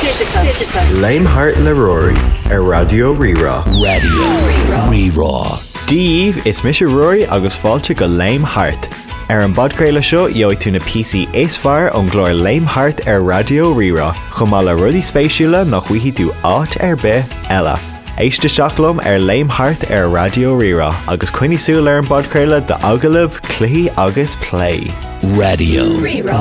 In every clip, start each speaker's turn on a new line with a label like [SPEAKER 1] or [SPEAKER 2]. [SPEAKER 1] Digital. Digital.
[SPEAKER 2] Lionheart na Rory ar radio rira.
[SPEAKER 3] Radio Rerá
[SPEAKER 4] Díomh is mis roií agus fáilte go léimthart. Ar an bodcréile seo dheoid tú na PC éasfar an glóir léimthart ar radio rira, chumá le rudí spéisiúla nach chuhí tú áit ar be eile. Éiste seachlumm ar léimthart ar radio rira agus cuiinesúil ar an bodcréile de agalah clí agus play.
[SPEAKER 3] Radio Rerá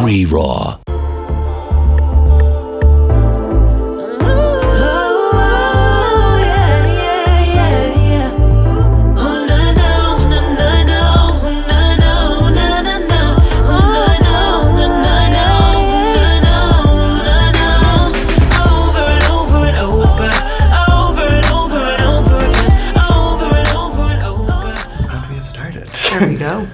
[SPEAKER 4] And we have started.
[SPEAKER 5] There we go.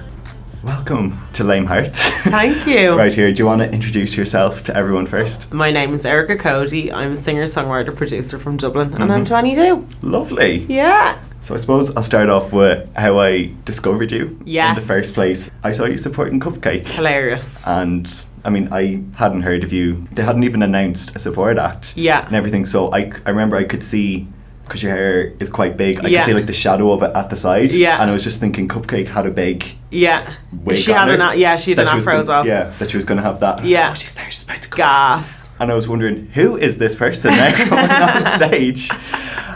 [SPEAKER 4] Welcome to Léimthart.
[SPEAKER 5] Thank you.
[SPEAKER 4] Right here, do you want to introduce yourself to everyone first?
[SPEAKER 5] My name is Erica Cody. I'm a singer, songwriter, producer from Dublin, and
[SPEAKER 4] Mm-hmm.
[SPEAKER 5] I'm 22.
[SPEAKER 4] Lovely.
[SPEAKER 5] Yeah.
[SPEAKER 4] So I suppose I'll start off with how I discovered you in
[SPEAKER 5] Yes.
[SPEAKER 4] the first place. I saw you supporting Cupcake,
[SPEAKER 5] Hilarious.
[SPEAKER 4] and I mean I hadn't heard of you. They hadn't even announced a support act,
[SPEAKER 5] Yeah.
[SPEAKER 4] and everything. So I, I remember I could see because your hair is quite big. I
[SPEAKER 5] Yeah.
[SPEAKER 4] could see like the shadow of it at the side,
[SPEAKER 5] Yeah.
[SPEAKER 4] And I was just thinking Cupcake had a big
[SPEAKER 5] Yeah.
[SPEAKER 4] wig.
[SPEAKER 5] she
[SPEAKER 4] on
[SPEAKER 5] had
[SPEAKER 4] her,
[SPEAKER 5] an a- yeah, she had
[SPEAKER 4] that
[SPEAKER 5] an
[SPEAKER 4] was
[SPEAKER 5] afro
[SPEAKER 4] gonna-
[SPEAKER 5] as well.
[SPEAKER 4] Yeah, that she was going to have that. And I was
[SPEAKER 5] Yeah.
[SPEAKER 4] like, oh, she's there. She's about to go.
[SPEAKER 5] Gas.
[SPEAKER 4] And I was wondering who is this person now coming on stage.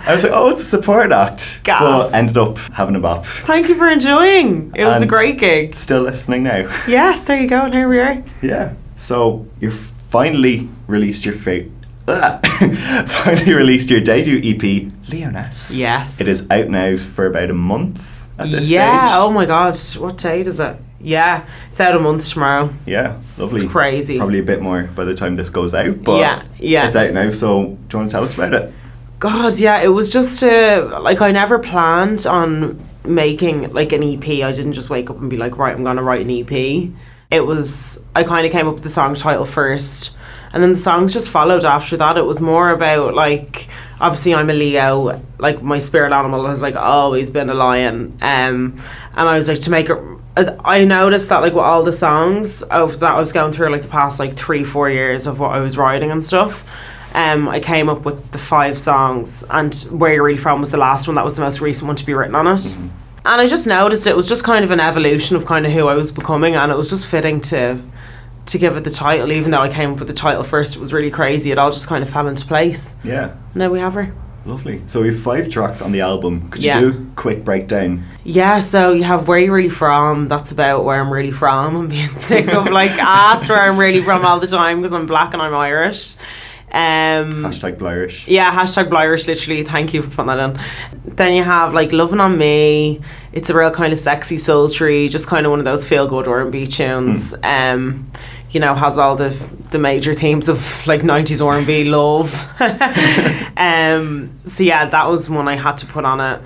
[SPEAKER 4] I was like, oh, it's a support act.
[SPEAKER 5] Gas.
[SPEAKER 4] But ended up having a bop.
[SPEAKER 5] Thank you for enjoying. It was a
[SPEAKER 4] And-
[SPEAKER 5] great gig.
[SPEAKER 4] still listening now.
[SPEAKER 5] Yes, there you go, and here we are.
[SPEAKER 4] yeah. So you finally released your fa- finally released your debut EP, Leonas.
[SPEAKER 5] Yes.
[SPEAKER 4] It is out now for about a month at this
[SPEAKER 5] yeah.
[SPEAKER 4] stage.
[SPEAKER 5] Oh my God. What date is it? Yeah. It's out a month tomorrow.
[SPEAKER 4] Yeah. Lovely.
[SPEAKER 5] It's crazy.
[SPEAKER 4] Probably a bit more by the time this goes out, but
[SPEAKER 5] Yeah, yeah.
[SPEAKER 4] it's out now. So do you want to tell us about it?
[SPEAKER 5] God, yeah, it was just uh, like I never planned on making like an EP. I didn't just wake up and be like, right, I'm gonna write an EP. It was I kind of came up with the song title first, and then the songs just followed after that. It was more about like obviously I'm a Leo, like my spirit animal has like always been a lion, um, and I was like to make it I noticed that like with all the songs of that I was going through like the past like three four years of what I was writing and stuff. Um, I came up with the five songs, and "Where You're Really From" was the last one. That was the most recent one to be written on it. And I just noticed it was just kind of an evolution of kind of who I was becoming, and it was just fitting to to give it the title. Even though I came up with the title first, it was really crazy. It all just kind of fell into place.
[SPEAKER 4] Yeah.
[SPEAKER 5] Now we have her.
[SPEAKER 4] Lovely. So we have five tracks on the album. Could
[SPEAKER 5] Yeah.
[SPEAKER 4] you do a quick breakdown?
[SPEAKER 5] Yeah, so you have where you really from. That's about where I'm really from. I'm being sick of like asked where I'm really from all the time because I'm black and I'm Irish. Um,
[SPEAKER 4] Hashtag Blirish.
[SPEAKER 5] yeah, hashtag Blirish. Literally, thank you for putting that in. Then you have like loving on me. It's a real kind of sexy, sultry, just kind of one of those feel good R and B tunes. Um, you know, has all the the major themes of like '90s R and B love. um, so yeah, that was one I had to put on it.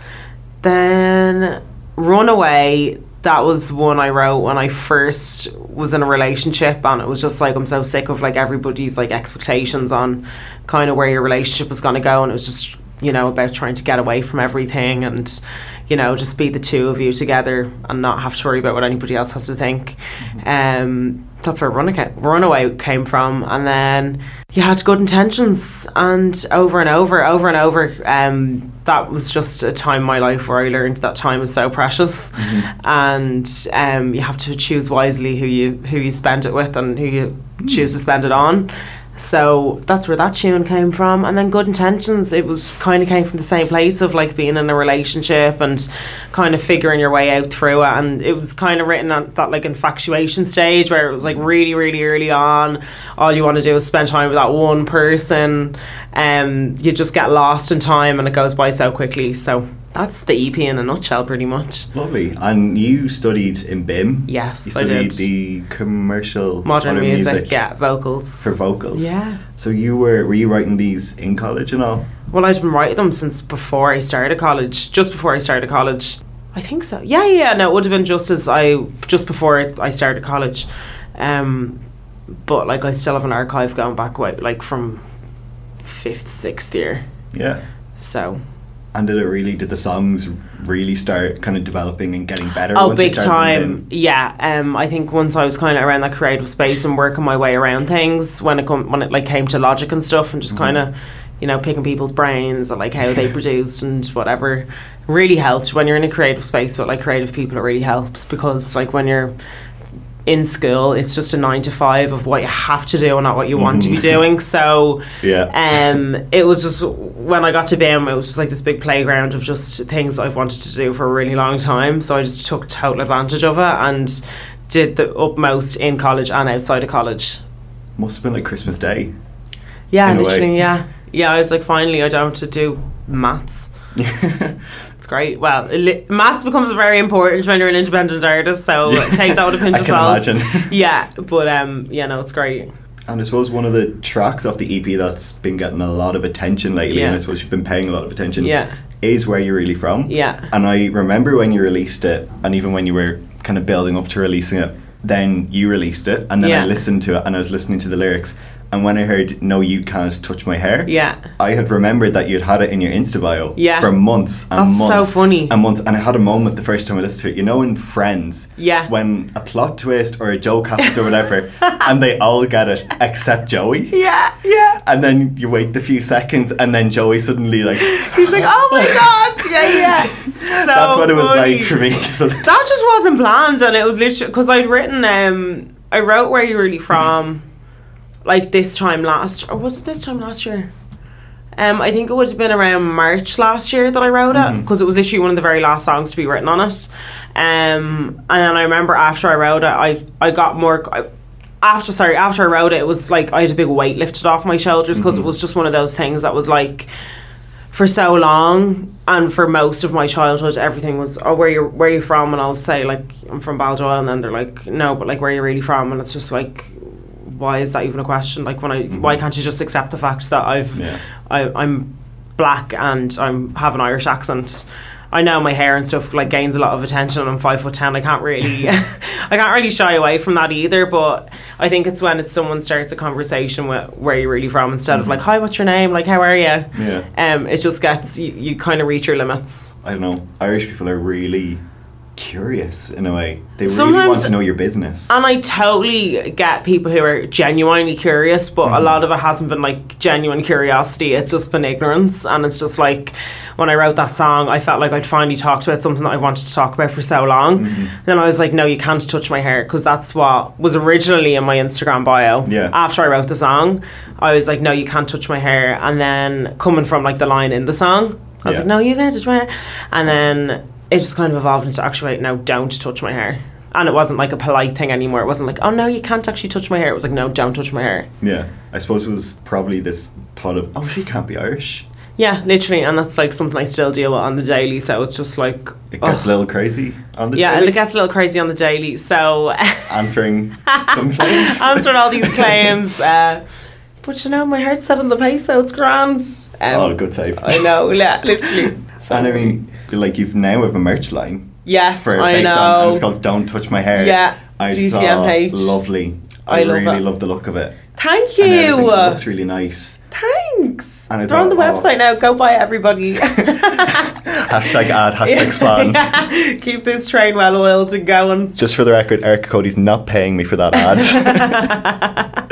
[SPEAKER 5] Then Runaway, that was one I wrote when I first was in a relationship and it was just like I'm so sick of like everybody's like expectations on kind of where your relationship was gonna go and it was just, you know, about trying to get away from everything and, you know, just be the two of you together and not have to worry about what anybody else has to think. Um that's where Runaway Runaway came from, and then you had good intentions, and over and over, over and over. Um, that was just a time in my life where I learned that time is so precious, and um, you have to choose wisely who you who you spend it with and who you choose to spend it on. So that's where that tune came from, and then good intentions. It was kind of came from the same place of like being in a relationship and kind of figuring your way out through it. And it was kind of written at that like infatuation stage where it was like really, really early on. All you want to do is spend time with that one person, and you just get lost in time, and it goes by so quickly. So that's the EP in a nutshell, pretty much.
[SPEAKER 4] Lovely. And you studied in BIM.
[SPEAKER 5] Yes,
[SPEAKER 4] You
[SPEAKER 5] I
[SPEAKER 4] studied
[SPEAKER 5] did.
[SPEAKER 4] the commercial
[SPEAKER 5] Modern, music, yeah, vocals.
[SPEAKER 4] for vocals.
[SPEAKER 5] Yeah.
[SPEAKER 4] So you were were you writing these in college and all?
[SPEAKER 5] Well, I'd been writing them since before I started college, just before I started college. I think so. Yeah, yeah. No, it would have been just as I just before I started college. Um, but like I still have an archive going back way, like from fifth, sixth year.
[SPEAKER 4] Yeah.
[SPEAKER 5] So
[SPEAKER 4] And did it really? Did the songs really start kind of developing and getting better?
[SPEAKER 5] Oh,
[SPEAKER 4] once you
[SPEAKER 5] big
[SPEAKER 4] started
[SPEAKER 5] time.
[SPEAKER 4] writing?
[SPEAKER 5] Yeah. Um, I think once I was kind of around that creative space and working my way around things when it come when it like came to logic and stuff and
[SPEAKER 4] Mm-hmm.
[SPEAKER 5] just kind of, you know, picking people's brains and like how they produced and whatever, really helped. When you're in a creative space with like creative people, it really helps because like when you're in school, it's just a nine to five of what you have to do and not what you want to be doing. So
[SPEAKER 4] Mm-hmm. Yeah.
[SPEAKER 5] um, it was just when I got to BIM, it was just like this big playground of just things I've wanted to do for a really long time. So I just took total advantage of it and did the utmost in college and outside of college.
[SPEAKER 4] Must have been like Christmas Day.
[SPEAKER 5] Yeah,
[SPEAKER 4] In a way.
[SPEAKER 5] literally. Yeah, yeah. I was like, finally, I don't have to do maths. It's great. Well, li- maths becomes very important when you're an independent artist, so take that with a pinch
[SPEAKER 4] I
[SPEAKER 5] of
[SPEAKER 4] can
[SPEAKER 5] salt.
[SPEAKER 4] imagine.
[SPEAKER 5] Yeah, but um, yeah, no, it's great.
[SPEAKER 4] And I suppose one of the tracks off the EP that's been getting a lot of attention lately, and I
[SPEAKER 5] Yeah.
[SPEAKER 4] suppose you've been paying a lot of attention,
[SPEAKER 5] Yeah.
[SPEAKER 4] is Where You're Really From.
[SPEAKER 5] Yeah.
[SPEAKER 4] And I remember when you released it, and even when you were kind of building up to releasing it, then you released it, and then I
[SPEAKER 5] Yeah.
[SPEAKER 4] listened to it, and I was listening to the lyrics, and when I heard "No, you can't touch my hair,"
[SPEAKER 5] Yeah.
[SPEAKER 4] I had remembered that you'd had it in your Insta bio
[SPEAKER 5] Yeah.
[SPEAKER 4] for months and
[SPEAKER 5] That's so
[SPEAKER 4] months
[SPEAKER 5] funny.
[SPEAKER 4] and months, and I had a moment the first time I listened to it. You know, in Friends,
[SPEAKER 5] Yeah.
[SPEAKER 4] when a plot twist or a joke happens or whatever, and they all get it except Joey.
[SPEAKER 5] Yeah, yeah.
[SPEAKER 4] And then you wait the few seconds, and then Joey suddenly like.
[SPEAKER 5] He's like, oh my god, yeah, yeah. So
[SPEAKER 4] That's what it was
[SPEAKER 5] funny.
[SPEAKER 4] like for me. So
[SPEAKER 5] That just wasn't planned, and it was literally because I'd written, um, I wrote where you really from, like this time last, or was it this time last year? Um, I think it would have been around March last year that I wrote it
[SPEAKER 4] Mm-hmm.
[SPEAKER 5] because it was literally one of the very last songs to be written on it. Um, and then I remember after I wrote it, I I got more. I, after sorry, after I wrote it, it was like I had a big weight lifted off my shoulders because
[SPEAKER 4] Mm-hmm.
[SPEAKER 5] it was just one of those things that was like for so long and for most of my childhood everything was oh where you where you from and I'll say like I'm from Baldoyle and then they're like no but like where you really from and it's just like why is that even a question like when I why can't you just accept the fact that I've
[SPEAKER 4] Yeah.
[SPEAKER 5] I, I'm black and I'm have an Irish accent I know my hair and stuff like gains a lot of attention and I'm five foot ten I can't really I can't really shy away from that either but I think it's when it's someone starts a conversation with where you really from instead of like hi what's your name like how are you
[SPEAKER 4] Yeah.
[SPEAKER 5] um, it just gets you, you kind of reach your limits.
[SPEAKER 4] I don't know. Irish people are really curious in a way. They really want
[SPEAKER 5] Sometimes-
[SPEAKER 4] to know your business.
[SPEAKER 5] And I totally get people who are genuinely curious, but
[SPEAKER 4] Mm-hmm.
[SPEAKER 5] a lot of it hasn't been like genuine curiosity. It's just been ignorance. And it's just like when I wrote that song, I felt like I'd finally talked about something that I wanted to talk about for so long.
[SPEAKER 4] Mm-hmm.
[SPEAKER 5] Then I was like, no, you can't touch my hair because that's what was originally in my Instagram bio.
[SPEAKER 4] Yeah.
[SPEAKER 5] After I wrote the song, I was like, no, you can't touch my hair. And then coming from like the line in the song, I was
[SPEAKER 4] Yeah.
[SPEAKER 5] like, no, you can't touch my hair. And then it just kind of evolved into actually, wait, no, don't touch my hair. And it wasn't like a polite thing anymore. It wasn't like, oh no, you can't actually touch my hair. It was like, no, don't touch my hair.
[SPEAKER 4] yeah. I suppose it was probably this thought of, oh, she can't be Irish.
[SPEAKER 5] Yeah, literally. And that's like something I still deal with on the daily. So it's just like,
[SPEAKER 4] It gets
[SPEAKER 5] ugh.
[SPEAKER 4] a little crazy on the
[SPEAKER 5] Oh. yeah,
[SPEAKER 4] daily.
[SPEAKER 5] it gets a little crazy on the daily. So
[SPEAKER 4] answering some claims.
[SPEAKER 5] answering all these claims. Uh, but you know, my heart's set on the pace, so it's grand. Um,
[SPEAKER 4] Oh, good save.
[SPEAKER 5] I know, yeah, literally. So-
[SPEAKER 4] And I mean, like you've now have a merch line
[SPEAKER 5] yes,
[SPEAKER 4] for
[SPEAKER 5] I
[SPEAKER 4] based on, and it's
[SPEAKER 5] know.
[SPEAKER 4] called "Don't Touch My Hair."
[SPEAKER 5] Yeah,
[SPEAKER 4] I saw
[SPEAKER 5] GTMH.
[SPEAKER 4] lovely. I,
[SPEAKER 5] I love
[SPEAKER 4] really
[SPEAKER 5] it.
[SPEAKER 4] love the look of it.
[SPEAKER 5] Thank
[SPEAKER 4] And everything.
[SPEAKER 5] you.
[SPEAKER 4] It looks really nice.
[SPEAKER 5] Thanks.
[SPEAKER 4] And I
[SPEAKER 5] They're on the
[SPEAKER 4] thought, oh.
[SPEAKER 5] website now. Go buy it, everybody.
[SPEAKER 4] Hashtag ad. Hashtag spawn.
[SPEAKER 5] Keep this train well oiled and going.
[SPEAKER 4] Just for the record, Erica Cody's not paying me for that ad.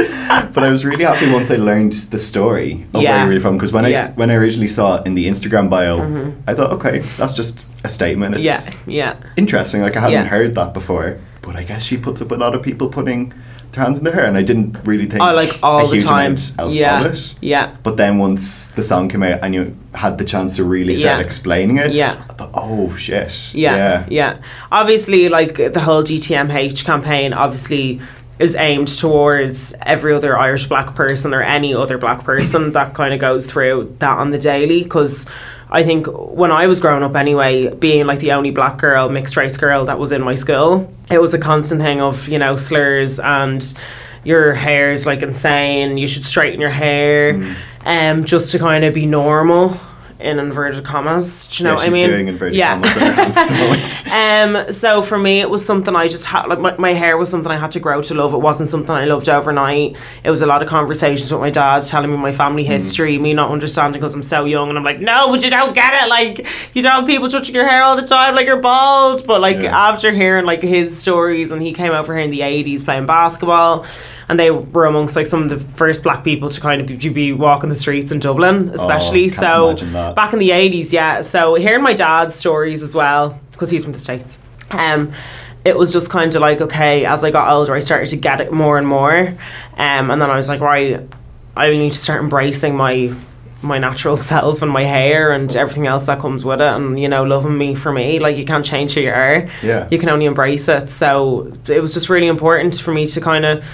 [SPEAKER 4] but I was really happy once I learned the story of where
[SPEAKER 5] Yeah.
[SPEAKER 4] you're really from because when I
[SPEAKER 5] Yeah. Mm-hmm.
[SPEAKER 4] s- when I originally saw it in the Instagram bio, I thought, okay, that's just a statement. It's
[SPEAKER 5] Yeah, yeah.
[SPEAKER 4] interesting. Like I hadn't
[SPEAKER 5] Yeah.
[SPEAKER 4] heard that before, but I guess she puts up a lot of people putting their hands in their hair, and I didn't really think.
[SPEAKER 5] I Oh, like all
[SPEAKER 4] a
[SPEAKER 5] the
[SPEAKER 4] huge
[SPEAKER 5] time.
[SPEAKER 4] amount Else
[SPEAKER 5] yeah,
[SPEAKER 4] of it.
[SPEAKER 5] yeah.
[SPEAKER 4] But then once the song came out and you had the chance to really start
[SPEAKER 5] Yeah.
[SPEAKER 4] explaining it,
[SPEAKER 5] Yeah.
[SPEAKER 4] I thought, oh shit,
[SPEAKER 5] Yeah, yeah, Obviously, like the whole GTMH campaign, obviously is aimed towards every other Irish black person or any other black person that kind of goes through that on the daily because. I think when I was growing up, anyway, being like the only black girl, mixed race girl that was in my school, it was a constant thing of, you know, slurs and your hair
[SPEAKER 4] Mm.
[SPEAKER 5] is like insane, you should straighten your hair, um, just to kind of be normal in inverted commas. Do you know
[SPEAKER 4] Yeah,
[SPEAKER 5] what
[SPEAKER 4] she's
[SPEAKER 5] I mean?
[SPEAKER 4] doing inverted
[SPEAKER 5] yeah.
[SPEAKER 4] commas with her hands at the moment.
[SPEAKER 5] Um, so for me, it was something I just had, like, my, my hair was something I had to grow to love. It wasn't something I loved overnight. It was a lot of conversations with my dad telling me my family history, me not understanding because I'm so young. And I'm like, no, but you don't get it. Like, you don't have people touching your hair all the time, like you're bald. But, like,
[SPEAKER 4] Yeah.
[SPEAKER 5] after hearing, like, his stories, and he came over here in the 80s playing basketball. And they were amongst like some of the first black people to kind of be, be walking the streets in Dublin, especially.
[SPEAKER 4] Oh, can't imagine
[SPEAKER 5] so
[SPEAKER 4] that.
[SPEAKER 5] back in the 80s yeah so hearing my dad's stories as well because he's from the states um it was just kind of like okay as i got older i started to get it more and more um and then i was like right i need to start embracing my my natural self and my hair and everything else that comes with it and you know loving me for me like you can't change who you are
[SPEAKER 4] Yeah.
[SPEAKER 5] you can only embrace it so it was just really important for me to kind of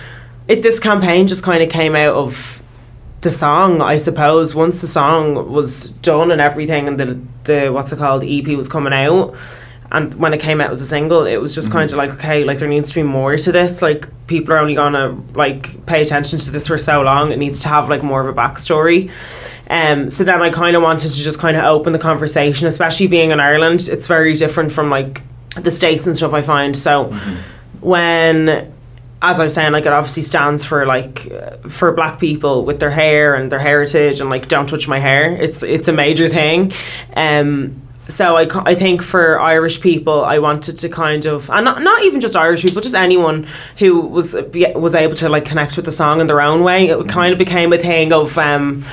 [SPEAKER 5] it this campaign just kind of came out of the song, I suppose, once the song was done and everything, and the the what's it called EP was coming out, and when it came out as a single, it was just kind of like okay, like there needs to be more to this. Like people are only gonna like pay attention to this for so long. It needs to have like more of a backstory. Um, so then I kind of wanted to just kind of open the conversation, especially being in Ireland. It's very different from like the states and stuff. I find so when as I was saying, like it obviously stands for like uh, for black people with their hair and their heritage and like don't touch my hair. It's it's a major thing. Um, so I, ca- I think for Irish people, I wanted to kind of and not, not even just Irish people, just anyone who was be- was able to like connect with the song in their own way. It kind of became a thing of. Um,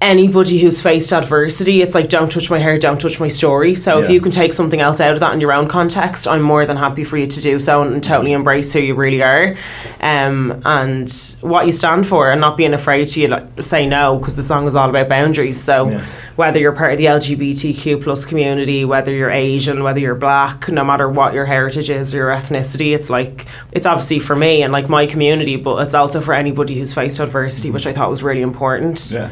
[SPEAKER 5] Anybody who's faced adversity, it's like don't touch my hair, don't touch my story. So if
[SPEAKER 4] Yeah.
[SPEAKER 5] you can take something else out of that in your own context, I'm more than happy for you to do so and totally embrace who you really are, um, and what you stand for, and not being afraid to you know, say no because the song is all about boundaries. So
[SPEAKER 4] Yeah.
[SPEAKER 5] whether you're part of the LGBTQ plus community, whether you're Asian, whether you're black, no matter what your heritage is or your ethnicity, it's like it's obviously for me and like my community, but it's also for anybody who's faced adversity, which I thought was really important.
[SPEAKER 4] Mm-hmm. Yeah.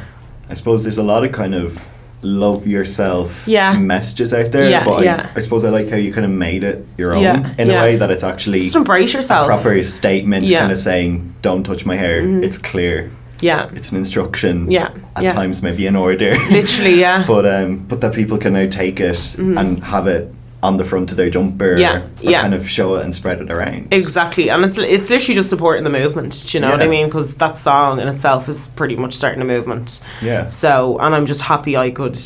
[SPEAKER 4] I suppose there's a lot of kind of love yourself
[SPEAKER 5] Yeah.
[SPEAKER 4] messages out there,
[SPEAKER 5] Yeah,
[SPEAKER 4] but I,
[SPEAKER 5] yeah.
[SPEAKER 4] I suppose I like how you kind of made it your own
[SPEAKER 5] Yeah,
[SPEAKER 4] in
[SPEAKER 5] yeah.
[SPEAKER 4] a way that it's actually
[SPEAKER 5] Just embrace
[SPEAKER 4] a
[SPEAKER 5] yourself.
[SPEAKER 4] proper statement
[SPEAKER 5] Yeah.
[SPEAKER 4] kind of saying, don't touch my hair. It's clear.
[SPEAKER 5] Yeah.
[SPEAKER 4] It's an instruction.
[SPEAKER 5] Yeah,
[SPEAKER 4] At
[SPEAKER 5] yeah.
[SPEAKER 4] times maybe an order.
[SPEAKER 5] Literally, yeah. Mm-hmm.
[SPEAKER 4] but um, but that people can now take it and have it on the front of their jumper
[SPEAKER 5] Yeah,
[SPEAKER 4] or
[SPEAKER 5] yeah.
[SPEAKER 4] kind of show it and spread it around.
[SPEAKER 5] Exactly, and it's it's literally just supporting the movement. Do you know what I
[SPEAKER 4] Yeah.
[SPEAKER 5] mean? Because that song in itself is pretty much starting a movement.
[SPEAKER 4] Yeah.
[SPEAKER 5] So, and I'm just happy I could,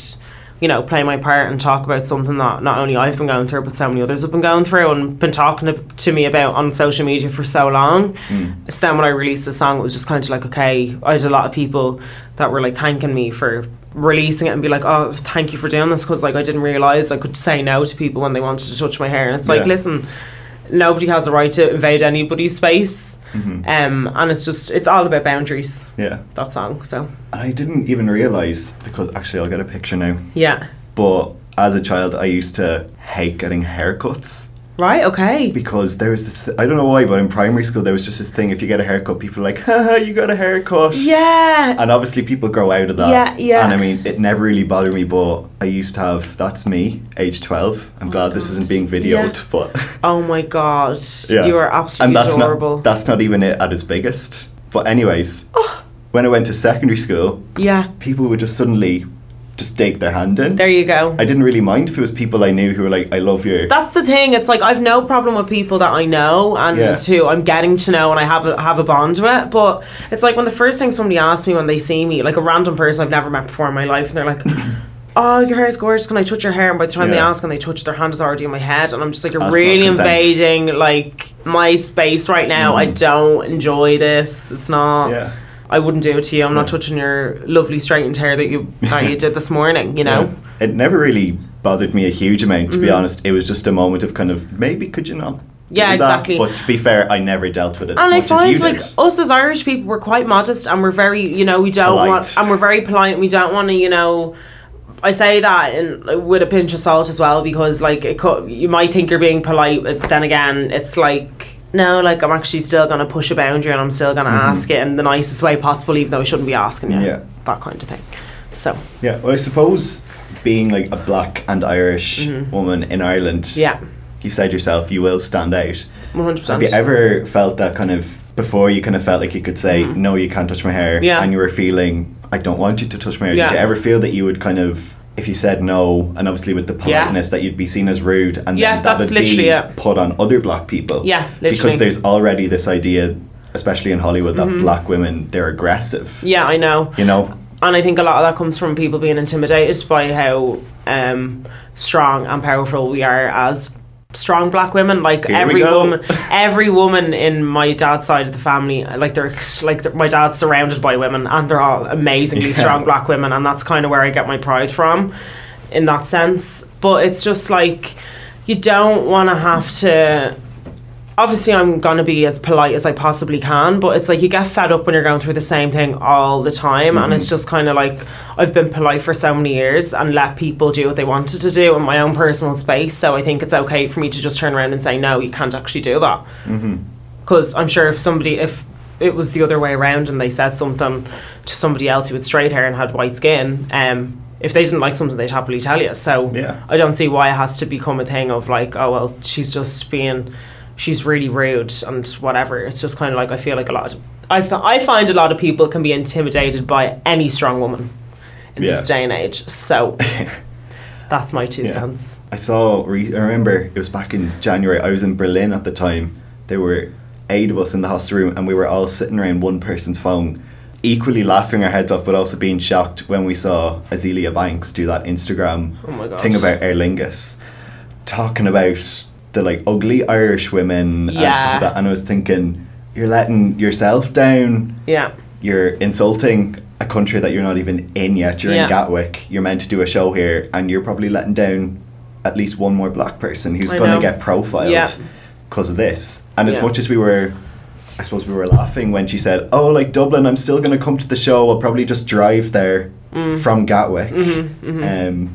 [SPEAKER 5] you know, play my part and talk about something that not only I've been going through, but so many others have been going through and been talking to, to me about on social media for so long. So then when I released the song, it was just kind of like, okay, I had a lot of people that were like thanking me for releasing it and be like, oh, thank you for doing this because like I didn't realize I could say no to people when they wanted to touch my hair, and it's like,
[SPEAKER 4] Yeah.
[SPEAKER 5] listen nobody has a right to invade anybody's space. Um, and it's just it's all about boundaries.
[SPEAKER 4] Yeah.
[SPEAKER 5] That song. So
[SPEAKER 4] And I didn't even realise because actually I'll get a picture now.
[SPEAKER 5] yeah.
[SPEAKER 4] But as a child, I used to hate getting haircuts
[SPEAKER 5] Right, okay.
[SPEAKER 4] because there was this. I don't know why, but in primary school there was just this thing. If you get a haircut, people are like, "Haha, you got a haircut."
[SPEAKER 5] Yeah.
[SPEAKER 4] And obviously, people grow out of that.
[SPEAKER 5] Yeah, yeah.
[SPEAKER 4] And I mean, it never really bothered me, but I used to have. That's me, age twelve. I'm glad this isn't being videoed,
[SPEAKER 5] Oh Yeah.
[SPEAKER 4] but
[SPEAKER 5] Oh my god.
[SPEAKER 4] yeah.
[SPEAKER 5] You are absolutely
[SPEAKER 4] and that's
[SPEAKER 5] adorable.
[SPEAKER 4] Not, that's not even it at its biggest. But anyways,
[SPEAKER 5] Oh.
[SPEAKER 4] when I went to secondary school,
[SPEAKER 5] yeah.
[SPEAKER 4] people would just suddenly just dig their hand in.
[SPEAKER 5] There you go.
[SPEAKER 4] I didn't really mind if it was people I knew who were like, "I love you."
[SPEAKER 5] that's the thing. It's like I've no problem with people that I know and
[SPEAKER 4] Yeah.
[SPEAKER 5] who I'm getting to know and I have a, have a bond with. But it's like when the first thing somebody asks me when they see me, like a random person I've never met before in my life, and they're like. Oh, your hair is gorgeous. Can I touch your hair? And by the time they
[SPEAKER 4] Yeah.
[SPEAKER 5] ask and they touch, their hand is already on my head, and I'm just like, you're
[SPEAKER 4] That's not
[SPEAKER 5] really
[SPEAKER 4] consent. Mm.
[SPEAKER 5] invading like my space right now. I don't enjoy this. It's not.
[SPEAKER 4] Yeah.
[SPEAKER 5] I wouldn't do it to you. I'm not touching your lovely straightened hair that you that you did this morning. You know.
[SPEAKER 4] It never really bothered me a huge amount, to be honest. It was just a moment of kind of maybe could you not?
[SPEAKER 5] Mm-hmm. Yeah,
[SPEAKER 4] do that?"
[SPEAKER 5] exactly.
[SPEAKER 4] But to be fair, I never dealt with it.
[SPEAKER 5] And I
[SPEAKER 4] as much
[SPEAKER 5] find
[SPEAKER 4] as you
[SPEAKER 5] like
[SPEAKER 4] did.
[SPEAKER 5] us as Irish people, we're quite modest and we're very, you know, we don't
[SPEAKER 4] Polite.
[SPEAKER 5] want, and we're very polite and we don't want to, you know. I say that in, with a pinch of salt as well because, like, it co- you might think you're being polite, but then again, it's like, no, like, I'm actually still going to push a boundary and I'm still going to ask it in the nicest way possible, even though I shouldn't be asking you.
[SPEAKER 4] Mm-hmm. Yeah.
[SPEAKER 5] That kind of thing. So,
[SPEAKER 4] yeah, well, I suppose being like a black and Irish woman in Ireland,
[SPEAKER 5] Mm-hmm. yeah,
[SPEAKER 4] you said yourself you will stand out.
[SPEAKER 5] 100%.
[SPEAKER 4] So have you ever felt that kind of before you kind of felt like you could say no, you can't touch my hair,
[SPEAKER 5] Mm-hmm. Yeah.
[SPEAKER 4] and you were feeling I don't want you to touch my hair?
[SPEAKER 5] Yeah.
[SPEAKER 4] Did you ever feel that you would kind of if you said no, and obviously with the
[SPEAKER 5] Yeah.
[SPEAKER 4] politeness that you'd be seen as rude, and
[SPEAKER 5] Yeah,
[SPEAKER 4] then that
[SPEAKER 5] that's
[SPEAKER 4] would
[SPEAKER 5] literally
[SPEAKER 4] be
[SPEAKER 5] it.
[SPEAKER 4] put on other black people.
[SPEAKER 5] Yeah, literally.
[SPEAKER 4] Because there's already this idea, especially in Hollywood, that black women they're aggressive.
[SPEAKER 5] Mm-hmm. Yeah, I know.
[SPEAKER 4] You know,
[SPEAKER 5] And I think a lot of that comes from people being intimidated by how um, strong and powerful we are as strong black women. Like
[SPEAKER 4] Here we
[SPEAKER 5] every
[SPEAKER 4] go.
[SPEAKER 5] woman, every woman in my dad's side of the family, like they're like they're- my dad's surrounded by women, and they're all amazingly
[SPEAKER 4] Yeah.
[SPEAKER 5] strong black women, and that's kind of where I get my pride from, in that sense. But it's just like you don't want to have to obviously I'm gonna be as polite as I possibly can, but it's like you get fed up when you're going through the same thing all the time, and it's just kind of like I've been polite for so many years and let people do what they wanted to do in my own personal space. So I think it's okay for me to just turn around and say no, you can't actually do that, because I'm sure if somebody if it was the other way around and they said something to somebody else who had straight hair and had white skin, um. If they didn't like something, they'd happily tell you. So
[SPEAKER 4] Yeah.
[SPEAKER 5] I don't see why it has to become a thing of like, oh well, she's just being, she's really rude and whatever. It's just kind of like I feel like a lot. Of, I fi- I find a lot of people can be intimidated by any strong woman in
[SPEAKER 4] Yeah.
[SPEAKER 5] this day and age. So that's my two
[SPEAKER 4] Yeah.
[SPEAKER 5] cents.
[SPEAKER 4] I saw. Re- I remember it was back in January. I was in Berlin at the time. There were eight of us in the hostel room, and we were all sitting around one person's phone, equally laughing our heads off, but also being shocked when we saw Azealia Banks do that Instagram
[SPEAKER 5] Oh my gosh.
[SPEAKER 4] thing about Aer Lingus, talking about the like ugly Irish women and stuff
[SPEAKER 5] Yeah.
[SPEAKER 4] like that. And I was thinking, you're letting yourself down
[SPEAKER 5] Yeah,
[SPEAKER 4] you're insulting a country that you're not even in yet. You're
[SPEAKER 5] Yeah.
[SPEAKER 4] in Gatwick. You're meant to do a show here, and you're probably letting down at least one more black person who's
[SPEAKER 5] I
[SPEAKER 4] going
[SPEAKER 5] know.
[SPEAKER 4] to get profiled
[SPEAKER 5] Yeah.
[SPEAKER 4] because of this. And as
[SPEAKER 5] Yeah.
[SPEAKER 4] much as we were, I suppose we were laughing when she said, "Oh, like Dublin, I'm still going to come to the show. I'll probably just drive there
[SPEAKER 5] Mm.
[SPEAKER 4] from Gatwick."
[SPEAKER 5] Mm-hmm,
[SPEAKER 4] Um,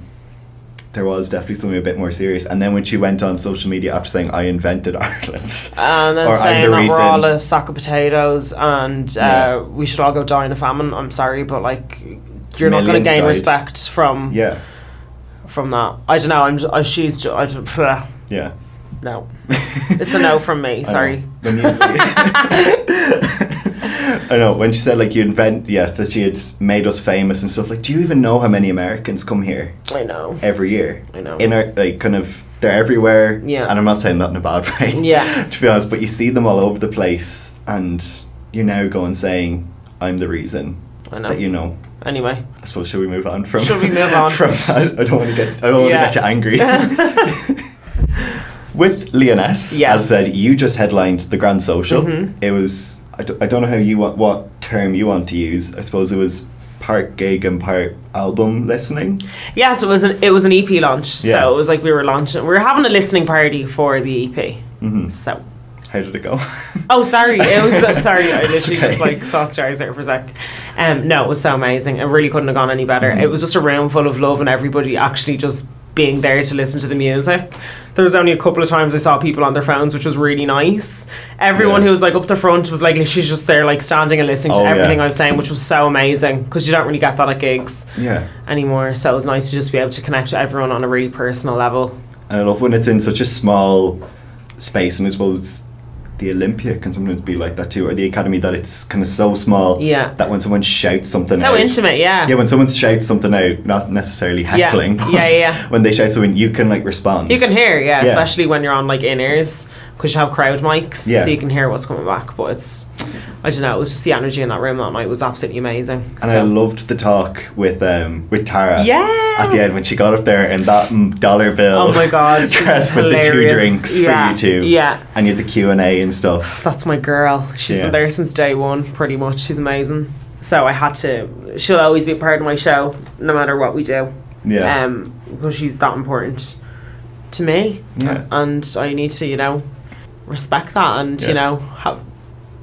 [SPEAKER 4] there was definitely something a bit more serious. And then when she went on social media after saying, "I invented Ireland,"
[SPEAKER 5] and then
[SPEAKER 4] Or I'm
[SPEAKER 5] saying
[SPEAKER 4] the
[SPEAKER 5] that we're
[SPEAKER 4] reason-
[SPEAKER 5] all a sack of potatoes and uh,
[SPEAKER 4] Yeah.
[SPEAKER 5] we should all go die in a famine. I'm sorry, but like. You're not going
[SPEAKER 4] Millions
[SPEAKER 5] to gain
[SPEAKER 4] died.
[SPEAKER 5] respect from
[SPEAKER 4] yeah,
[SPEAKER 5] from that. I don't know. I'm. Just, I, she's. ju- I, don't-
[SPEAKER 4] yeah.
[SPEAKER 5] no. It's a no from me. Sorry.
[SPEAKER 4] When you, I know when she said like you invent yeah that she had made us famous and stuff like do you even know how many Americans come here
[SPEAKER 5] I know.
[SPEAKER 4] every year
[SPEAKER 5] I know.
[SPEAKER 4] in our like kind of they're everywhere
[SPEAKER 5] Yeah.
[SPEAKER 4] and I'm not saying that in a bad way
[SPEAKER 5] Yeah.
[SPEAKER 4] to be honest but you see them all over the place and you're now going saying I'm the reason
[SPEAKER 5] I know.
[SPEAKER 4] that you know
[SPEAKER 5] Anyway,
[SPEAKER 4] I suppose should we move on from
[SPEAKER 5] Should we move on?
[SPEAKER 4] from that? I don't want to get I don't
[SPEAKER 5] Yeah.
[SPEAKER 4] want to get you angry. With Leoness,
[SPEAKER 5] Yes. Mm-hmm.
[SPEAKER 4] as said, you just headlined the Grand Social. It was I, d- I don't know how you want what term you want to use. I suppose it was part gig and part album listening.
[SPEAKER 5] yes, it was an it was an EP launch,
[SPEAKER 4] Yeah.
[SPEAKER 5] so it was like we were launching. We were having a listening party for the EP.
[SPEAKER 4] Mm-hmm.
[SPEAKER 5] So,
[SPEAKER 4] How did it go?
[SPEAKER 5] oh, sorry, it was uh, sorry. I literally
[SPEAKER 4] Okay.
[SPEAKER 5] just like sauced your eyes out for a sec. Um, no, it was so amazing. It really couldn't have gone any better.
[SPEAKER 4] Mm-hmm.
[SPEAKER 5] It was just a room full of love and everybody actually just being there to listen to the music. There was only a couple of times I saw people on their phones, which was really nice. Everyone
[SPEAKER 4] Yeah.
[SPEAKER 5] who was like up the front was like literally just there, like standing and listening
[SPEAKER 4] Oh,
[SPEAKER 5] to
[SPEAKER 4] yeah.
[SPEAKER 5] everything I was saying, which was so amazing because you don't really get that at gigs.
[SPEAKER 4] yeah,
[SPEAKER 5] anymore. So it was nice to just be able to connect to everyone on a really personal level.
[SPEAKER 4] and I love when it's in such a small space, and I suppose. The Olympia can sometimes be like that too, or the Academy that it's kind of so small
[SPEAKER 5] Yeah.
[SPEAKER 4] that when someone shouts something
[SPEAKER 5] So
[SPEAKER 4] out,
[SPEAKER 5] intimate, yeah.
[SPEAKER 4] Yeah, when someone shouts something out, not necessarily heckling, but
[SPEAKER 5] Yeah, yeah, yeah.
[SPEAKER 4] when they shout something, you can like respond.
[SPEAKER 5] you can hear, yeah,
[SPEAKER 4] Yeah.
[SPEAKER 5] especially when you're on like in ears because you have crowd mics,
[SPEAKER 4] Yeah.
[SPEAKER 5] so you can hear what's coming back. But it's, I don't know, it was just the energy in that room that night was absolutely amazing.
[SPEAKER 4] And
[SPEAKER 5] so.
[SPEAKER 4] I loved the talk with um with Tara.
[SPEAKER 5] Yeah.
[SPEAKER 4] At the end when she got up there and that mm, dollar bill.
[SPEAKER 5] Oh my God, she
[SPEAKER 4] Dress
[SPEAKER 5] was
[SPEAKER 4] with the two
[SPEAKER 5] hilarious.
[SPEAKER 4] drinks
[SPEAKER 5] Yeah,
[SPEAKER 4] for you two.
[SPEAKER 5] yeah.
[SPEAKER 4] And you had the Q and A and stuff.
[SPEAKER 5] That's my girl. She's
[SPEAKER 4] Yeah.
[SPEAKER 5] been there since day one, pretty much. She's amazing. So I had to. She'll always be a part of my show, no matter what we do.
[SPEAKER 4] Yeah.
[SPEAKER 5] Um, because she's that important to me.
[SPEAKER 4] Yeah.
[SPEAKER 5] and I need to, you know, respect that and
[SPEAKER 4] Yeah.
[SPEAKER 5] you know have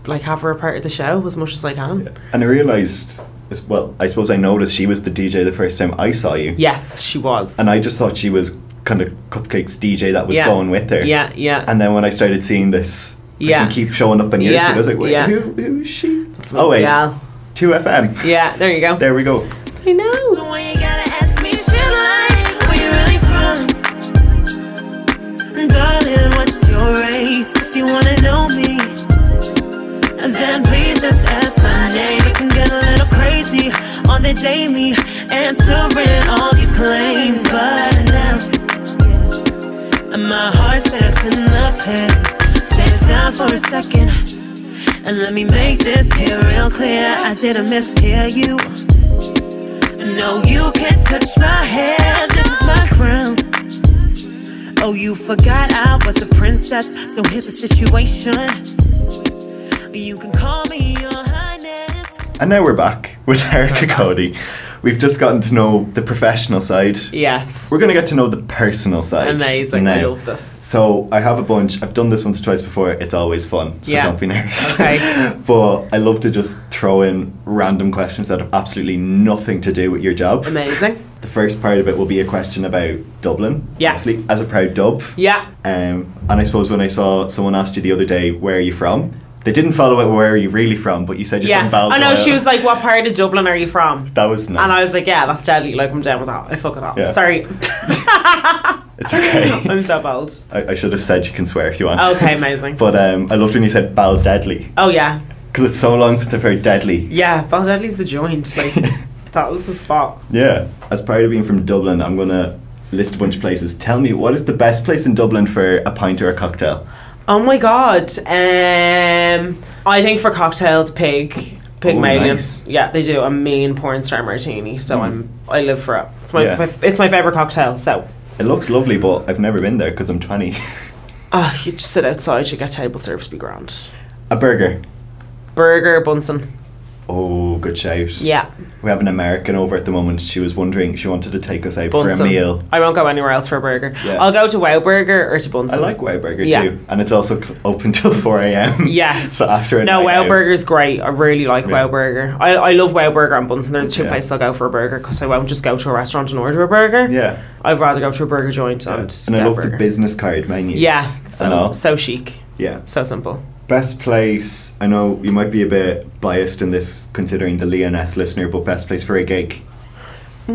[SPEAKER 5] like have her a part of the show as much as I can.
[SPEAKER 4] And I realized as well. I suppose I noticed she was the DJ the first time I saw you,
[SPEAKER 5] Yes, she was.
[SPEAKER 4] and I just thought she was kind of Cupcake's DJ that was
[SPEAKER 5] Yeah.
[SPEAKER 4] going with her.
[SPEAKER 5] yeah, yeah,
[SPEAKER 4] And then when I started seeing this.
[SPEAKER 5] Yeah.
[SPEAKER 4] Person keep showing up on your
[SPEAKER 5] Yeah,
[SPEAKER 4] feed, I was like, wait,
[SPEAKER 5] yeah.
[SPEAKER 4] who, who is she? oh, wait.
[SPEAKER 5] yeah,
[SPEAKER 4] 2FM.
[SPEAKER 5] yeah. There you go.
[SPEAKER 4] There we go.
[SPEAKER 5] I know.
[SPEAKER 1] When you gotta ask me, should I? Where you really from? Darling, what's your race? If you wanna know me, then please just ask my name. It can get a little crazy on the daily, answering all these planes, but now and my heart's set in the pace. Stand down for a second and let me make this here real clear. I didn't mishear you. No, you can't touch my hair. This is my crown. Oh, you forgot I was a princess. So here's the situation. You can call me your highness.
[SPEAKER 4] And now we're back with Erica Cody. We've just gotten to know the professional side.
[SPEAKER 5] Yes.
[SPEAKER 4] We're going to get to know the personal side.
[SPEAKER 5] Amazing. I
[SPEAKER 4] now.
[SPEAKER 5] love this.
[SPEAKER 4] So I have a bunch. I've done this once or twice before. It's always fun, so
[SPEAKER 5] Yeah.
[SPEAKER 4] don't be nervous.
[SPEAKER 5] Okay.
[SPEAKER 4] but I love to just throw in random questions that have absolutely nothing to do with your job.
[SPEAKER 5] Amazing.
[SPEAKER 4] The first part of it will be a question about Dublin.
[SPEAKER 5] Yeah.
[SPEAKER 4] Obviously, as a proud Dub.
[SPEAKER 5] Yeah.
[SPEAKER 4] Um, and I suppose when I saw someone asked you the other day, where are you from? They didn't follow it, where are you really from? But you said you're
[SPEAKER 5] Yeah.
[SPEAKER 4] from Baldoyle.
[SPEAKER 5] I know she was like, What part of Dublin are you from?
[SPEAKER 4] That was nice.
[SPEAKER 5] And I was like, Yeah, that's deadly. Like, I'm down with that. I fuck it up.
[SPEAKER 4] Yeah.
[SPEAKER 5] Sorry.
[SPEAKER 4] it's okay.
[SPEAKER 5] I'm so bold.
[SPEAKER 4] I, I should have said you can swear if you want.
[SPEAKER 5] Okay, amazing.
[SPEAKER 4] But um, I loved when you said Baldeadly.
[SPEAKER 5] Oh, yeah.
[SPEAKER 4] Because it's so long since I've heard deadly.
[SPEAKER 5] Yeah. Baldeadly's the joint. Like, that was the spot.
[SPEAKER 4] Yeah. As prior to being from Dublin, I'm going to list a bunch of places. Tell me, what is the best place in Dublin for a pint or a cocktail?
[SPEAKER 5] Oh my god. Um, I think for cocktails, pig, Pygmalion.
[SPEAKER 4] nice. Hmm.
[SPEAKER 5] Yeah, they do a mean porn star martini. So I'm I live for it. It's my,
[SPEAKER 4] Yeah.
[SPEAKER 5] my it's my favorite cocktail. So.
[SPEAKER 4] It looks lovely, but I've never been there because I'm 20.
[SPEAKER 5] Oh, you just sit outside, you get table service, be grand.
[SPEAKER 4] a burger.
[SPEAKER 5] Burger, Bunsen.
[SPEAKER 4] Oh, good shout.
[SPEAKER 5] Yeah.
[SPEAKER 4] We have an American over at the moment. She was wondering, she wanted to take us out for
[SPEAKER 5] Bunsen.
[SPEAKER 4] a meal.
[SPEAKER 5] I won't go anywhere else for a burger.
[SPEAKER 4] Yeah.
[SPEAKER 5] I'll go to Wow Burger or to Bunsen.
[SPEAKER 4] I like Wow Burger
[SPEAKER 5] Yeah.
[SPEAKER 4] too. And it's also cl- open till 4 a.m.
[SPEAKER 5] Yes.
[SPEAKER 4] so after a
[SPEAKER 5] No,
[SPEAKER 4] night
[SPEAKER 5] Wow
[SPEAKER 4] out-
[SPEAKER 5] Burger's great. I really like
[SPEAKER 4] Yeah.
[SPEAKER 5] Wow Burger. I, I love Wow Burger and Bunsen. They're the two
[SPEAKER 4] Yeah.
[SPEAKER 5] places I'll go for a burger because I won't just go to a restaurant and order a burger.
[SPEAKER 4] Yeah.
[SPEAKER 5] I'd rather go to a burger joint and just
[SPEAKER 4] And
[SPEAKER 5] get
[SPEAKER 4] I
[SPEAKER 5] a
[SPEAKER 4] love
[SPEAKER 5] burger.
[SPEAKER 4] the business card menus.
[SPEAKER 5] Yeah.
[SPEAKER 4] and
[SPEAKER 5] So,
[SPEAKER 4] all.
[SPEAKER 5] so chic.
[SPEAKER 4] yeah.
[SPEAKER 5] So simple.
[SPEAKER 4] Best place, I know you might be a bit biased in this considering the Leoness listener, but best place for a gig.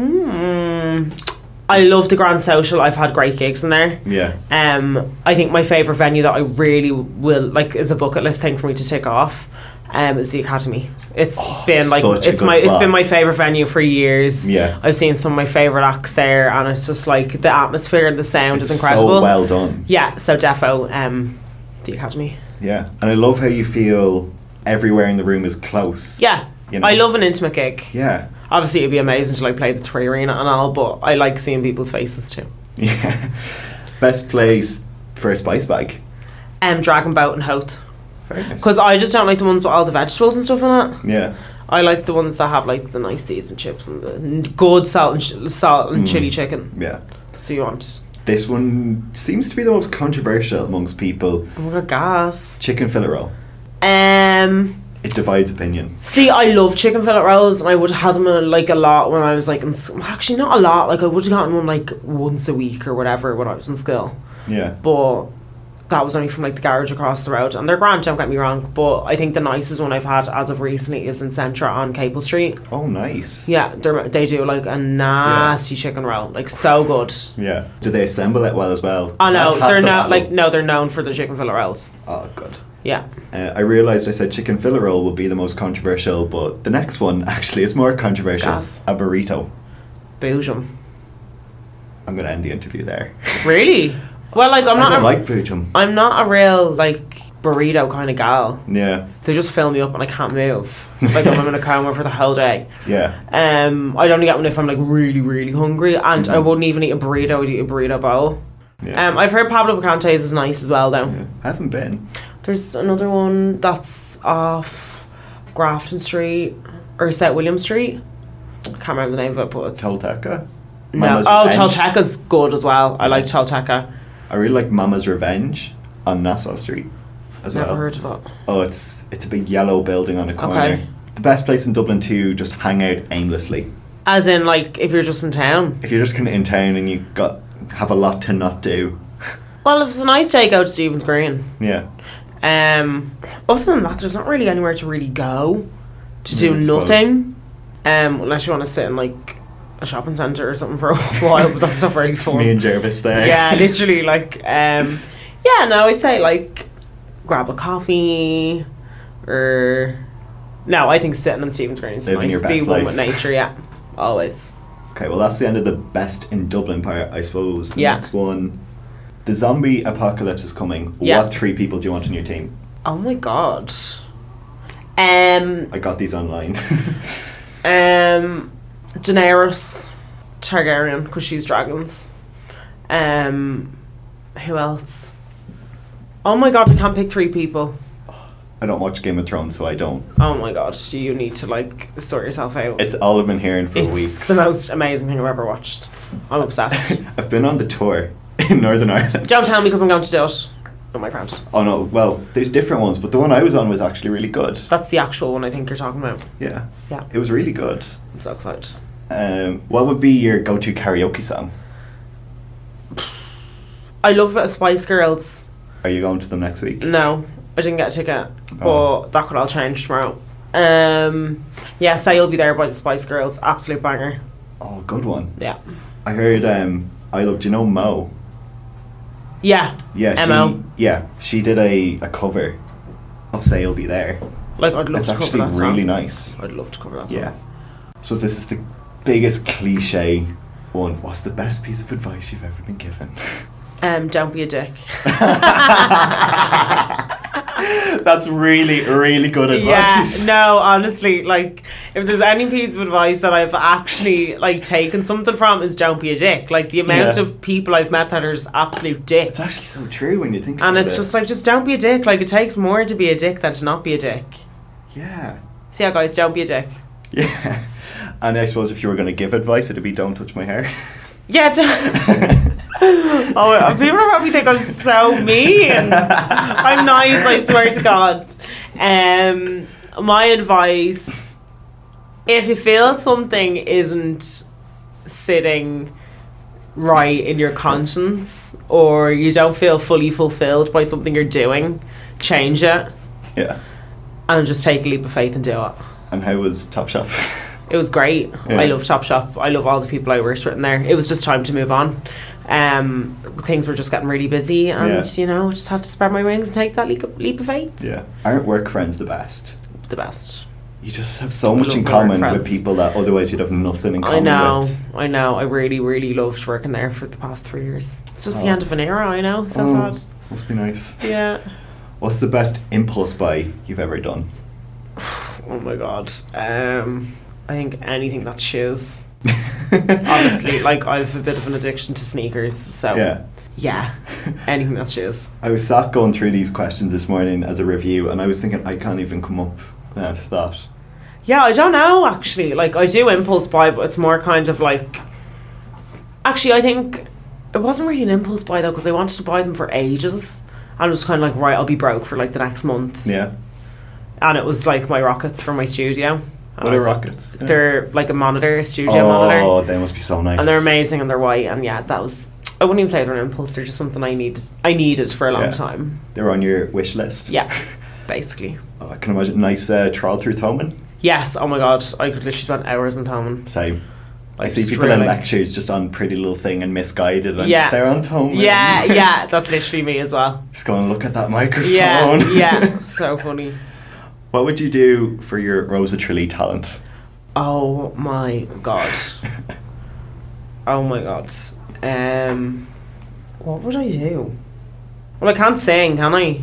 [SPEAKER 5] Mm. I love the Grand Social. I've had great gigs in there.
[SPEAKER 4] Yeah.
[SPEAKER 5] Um, I think my favorite venue that I really will like is a bucket list thing for me to tick off. Um, is the Academy. It's been like
[SPEAKER 4] Oh, such a
[SPEAKER 5] it's
[SPEAKER 4] good
[SPEAKER 5] my it's
[SPEAKER 4] spot.
[SPEAKER 5] been my favorite venue for years.
[SPEAKER 4] Yeah.
[SPEAKER 5] I've seen some of my favorite acts there, and it's just like the atmosphere and the sound
[SPEAKER 4] It's
[SPEAKER 5] is incredible.
[SPEAKER 4] So well done.
[SPEAKER 5] Yeah, so defo um, the Academy.
[SPEAKER 4] Yeah. And I love how you feel everywhere in the room is close.
[SPEAKER 5] Yeah,
[SPEAKER 4] You know.
[SPEAKER 5] I love an intimate gig.
[SPEAKER 4] Yeah.
[SPEAKER 5] Obviously, it'd be amazing to like play the three arena and all, but I like seeing people's faces too.
[SPEAKER 4] Yeah. Best place for a spice bag.
[SPEAKER 5] Um, Dragon Boat and Hoth.
[SPEAKER 4] Very nice.
[SPEAKER 5] Because I just don't like the ones with all the vegetables and stuff in it.
[SPEAKER 4] Yeah.
[SPEAKER 5] I like the ones that have like the nice seasoned chips and the n- good salt and sh- salt and chili
[SPEAKER 4] Mm.
[SPEAKER 5] chicken.
[SPEAKER 4] Yeah.
[SPEAKER 5] So you want
[SPEAKER 4] This one seems to be the most controversial amongst people.
[SPEAKER 5] oh my God, gas.
[SPEAKER 4] Chicken fillet roll.
[SPEAKER 5] Um,
[SPEAKER 4] It divides opinion.
[SPEAKER 5] see, I love chicken fillet rolls, and I would have had them in, like a lot when I was like in s- actually not a lot. Like I would have gotten one like once a week or whatever when I was in school,
[SPEAKER 4] Yeah.
[SPEAKER 5] but. That was only from like the garage across the road, and they're grand. Don't get me wrong, but I think the nicest one I've had as of recently is in Centra on Capel Street.
[SPEAKER 4] Oh, nice.
[SPEAKER 5] Yeah, they're, they do like a nasty chicken roll, like so good.
[SPEAKER 4] Yeah. Do they assemble it well as well?
[SPEAKER 5] Oh
[SPEAKER 4] 'Cause that's
[SPEAKER 5] no,
[SPEAKER 4] half
[SPEAKER 5] they're
[SPEAKER 4] the
[SPEAKER 5] not like
[SPEAKER 4] battle.
[SPEAKER 5] no, they're known for the chicken fillet rolls.
[SPEAKER 4] Oh, good.
[SPEAKER 5] Yeah,
[SPEAKER 4] Uh, I realised I said chicken fillet roll would be the most controversial, but the next one actually is more controversial.
[SPEAKER 5] Gas.
[SPEAKER 4] A burrito.
[SPEAKER 5] boojum.
[SPEAKER 4] I'm going to end the interview there.
[SPEAKER 5] Really? Well, like I'm
[SPEAKER 4] I
[SPEAKER 5] not.
[SPEAKER 4] don't
[SPEAKER 5] a,
[SPEAKER 4] like Boojum.
[SPEAKER 5] I'm not a real like burrito kind of gal.
[SPEAKER 4] Yeah,
[SPEAKER 5] They just fill me up and I can't move. Like I'm in a coma for the whole day.
[SPEAKER 4] yeah,
[SPEAKER 5] Um, I'd only get one if I'm like really, really hungry, and I wouldn't even eat a burrito. I'd eat a burrito bowl.
[SPEAKER 4] Mm. yeah.
[SPEAKER 5] Um, I've heard Pablo Picante's is nice as well though.
[SPEAKER 4] I haven't been.
[SPEAKER 5] There's another one that's off Grafton Street or South William Street. I can't remember the name of it, but it's
[SPEAKER 4] Tolteca?
[SPEAKER 5] No.
[SPEAKER 4] Mama's
[SPEAKER 5] Oh,
[SPEAKER 4] Revenge.
[SPEAKER 5] Tolteca's good as well. I like Tolteca.
[SPEAKER 4] I really like Mama's Revenge on Nassau Street as
[SPEAKER 5] Never
[SPEAKER 4] well.
[SPEAKER 5] heard of it.
[SPEAKER 4] Oh, it's it's a big yellow building on a corner. The best place in Dublin to just hang out aimlessly.
[SPEAKER 5] As in, like, if you're just in town.
[SPEAKER 4] If you're just kind of in town and you got have a lot to not do.
[SPEAKER 5] Well, if it's a nice day, go to Stephen's Green.
[SPEAKER 4] Yeah.
[SPEAKER 5] Um, other than that, there's not really anywhere to really go to do
[SPEAKER 4] Hmm, I suppose.
[SPEAKER 5] nothing. Um, unless you want to sit in like a shopping centre or something for a while, but that's not really
[SPEAKER 4] Just me
[SPEAKER 5] fun.
[SPEAKER 4] and Jervis there.
[SPEAKER 5] Yeah, literally, like, um, yeah, no, I'd say like grab a coffee or no, I think sitting on Stephen's Green is
[SPEAKER 4] Living
[SPEAKER 5] nice.
[SPEAKER 4] your
[SPEAKER 5] Be
[SPEAKER 4] best
[SPEAKER 5] one
[SPEAKER 4] life.
[SPEAKER 5] with nature, yeah, always.
[SPEAKER 4] Okay, well, that's the end of the best in Dublin part, I suppose. The
[SPEAKER 5] Yeah.
[SPEAKER 4] next one. The zombie apocalypse is coming.
[SPEAKER 5] Yeah.
[SPEAKER 4] What three people do you want on your team?
[SPEAKER 5] Oh my god. Um,
[SPEAKER 4] I got these online.
[SPEAKER 5] um, Daenerys Targaryen because she's dragons. Um, who else? Oh my god, we can't pick three people.
[SPEAKER 4] I don't watch Game of Thrones, so I don't.
[SPEAKER 5] Oh my god, you need to like sort yourself out.
[SPEAKER 4] It's all I've been hearing for
[SPEAKER 5] It's
[SPEAKER 4] weeks.
[SPEAKER 5] the most amazing thing I've ever watched. I'm obsessed.
[SPEAKER 4] I've been on the tour in Northern Ireland.
[SPEAKER 5] Don't tell me because I'm going to do it. Oh my god,
[SPEAKER 4] Oh no, well, there's different ones, but the one I was on was actually really good.
[SPEAKER 5] that's the actual one I think you're talking about.
[SPEAKER 4] Yeah.
[SPEAKER 5] Yeah.
[SPEAKER 4] It was really good.
[SPEAKER 5] I'm so excited.
[SPEAKER 4] Um, what would be your go to karaoke song?
[SPEAKER 5] I love a bit of Spice Girls.
[SPEAKER 4] Are you going to them next week?
[SPEAKER 5] No, I didn't get a ticket, but
[SPEAKER 4] Oh.
[SPEAKER 5] that could all change tomorrow. Um, yeah, say you'll be there by the Spice Girls. Absolute banger.
[SPEAKER 4] Oh, good one.
[SPEAKER 5] Yeah.
[SPEAKER 4] I heard um, I Love, do you know Mo?
[SPEAKER 5] Yeah.
[SPEAKER 4] Yeah,
[SPEAKER 5] MO.
[SPEAKER 4] She, yeah, she did a, a cover of Say You'll Be There.
[SPEAKER 5] Like, I'd love
[SPEAKER 4] It's
[SPEAKER 5] to cover
[SPEAKER 4] actually
[SPEAKER 5] that
[SPEAKER 4] really
[SPEAKER 5] song.
[SPEAKER 4] nice.
[SPEAKER 5] I'd love to cover that
[SPEAKER 4] Yeah.
[SPEAKER 5] song.
[SPEAKER 4] I suppose this is the biggest cliche one. What's the best piece of advice you've ever been given?
[SPEAKER 5] Um, don't be a dick.
[SPEAKER 4] That's really, really good
[SPEAKER 5] Yeah,
[SPEAKER 4] advice.
[SPEAKER 5] no, honestly, like if there's any piece of advice that I've actually like taken something from is don't be a dick. Like the amount
[SPEAKER 4] Yeah.
[SPEAKER 5] of people I've met that are just absolute dicks.
[SPEAKER 4] It's actually so true when you think
[SPEAKER 5] and
[SPEAKER 4] about
[SPEAKER 5] it's
[SPEAKER 4] it.
[SPEAKER 5] just like just don't be a dick. Like it takes more to be a dick than to not be a dick.
[SPEAKER 4] Yeah.
[SPEAKER 5] So yeah guys, don't be a dick.
[SPEAKER 4] Yeah. And I suppose if you were going to give advice, it'd be don't touch my hair.
[SPEAKER 5] Yeah, don't Oh, people probably think I'm so mean. I'm nice, I swear to God. Um, my advice if you feel something isn't sitting right in your conscience or you don't feel fully fulfilled by something you're doing, change it
[SPEAKER 4] Yeah.
[SPEAKER 5] and just take a leap of faith and do it.
[SPEAKER 4] And how was Top Shop?
[SPEAKER 5] It was great.
[SPEAKER 4] Yeah.
[SPEAKER 5] I love Topshop. I love all the people I worked with in there. It was just time to move on. Um, things were just getting really busy, and
[SPEAKER 4] Yeah.
[SPEAKER 5] you know, just had to spread my wings and take that leap of, leap of faith.
[SPEAKER 4] yeah. Aren't work friends the best?
[SPEAKER 5] The best.
[SPEAKER 4] You just have so much
[SPEAKER 5] love
[SPEAKER 4] in
[SPEAKER 5] my
[SPEAKER 4] common
[SPEAKER 5] work
[SPEAKER 4] with
[SPEAKER 5] friends.
[SPEAKER 4] people that otherwise you'd have nothing in common
[SPEAKER 5] I know.
[SPEAKER 4] with.
[SPEAKER 5] I know. I really, really loved working there for the past three years. It's just the
[SPEAKER 4] Oh.
[SPEAKER 5] end of an era. I know. So
[SPEAKER 4] Oh,
[SPEAKER 5] sad.
[SPEAKER 4] must be nice.
[SPEAKER 5] Yeah.
[SPEAKER 4] What's the best impulse buy you've ever done?
[SPEAKER 5] Oh my god. Um, I think anything that's shoes. Honestly, like I've a bit of an addiction to sneakers. So
[SPEAKER 4] Yeah.
[SPEAKER 5] yeah. anything that shoes.
[SPEAKER 4] I was sat going through these questions this morning as a review, and I was thinking I can't even come up uh, with that.
[SPEAKER 5] Yeah, I don't know actually. Like I do impulse buy, but it's more kind of like. Actually, I think it wasn't really an impulse buy though because I wanted to buy them for ages. And I was kind of like, right, I'll be broke for like the next month.
[SPEAKER 4] Yeah.
[SPEAKER 5] And it was like my rockets from my studio. And
[SPEAKER 4] What are
[SPEAKER 5] I was like-
[SPEAKER 4] rockets?
[SPEAKER 5] They're like a monitor, a
[SPEAKER 4] oh,
[SPEAKER 5] studio monitor,
[SPEAKER 4] they must be so nice.
[SPEAKER 5] and they're amazing and they're white. And yeah, that was. I wouldn't even say they're an impulse. They're just something I needed. I needed for a long
[SPEAKER 4] Yeah.
[SPEAKER 5] time.
[SPEAKER 4] They're on your wish list.
[SPEAKER 5] Yeah, basically.
[SPEAKER 4] Oh, I can imagine nice uh, trial through Thoman.
[SPEAKER 5] Yes. Oh my god, I could literally spend hours in Thomond.
[SPEAKER 4] So I
[SPEAKER 5] Like,
[SPEAKER 4] see
[SPEAKER 5] just
[SPEAKER 4] people in
[SPEAKER 5] drilling.
[SPEAKER 4] lectures just on Pretty Little Thing and misguided. And I'm
[SPEAKER 5] Yeah.
[SPEAKER 4] just there on Thoman.
[SPEAKER 5] Yeah, yeah, that's literally me as well.
[SPEAKER 4] just going look at that microphone.
[SPEAKER 5] Yeah, yeah, so funny.
[SPEAKER 4] what would you do for your Rosa Trilly talent?
[SPEAKER 5] Oh my god. Oh my god. Um, what would I do? Well, I can't sing, can I?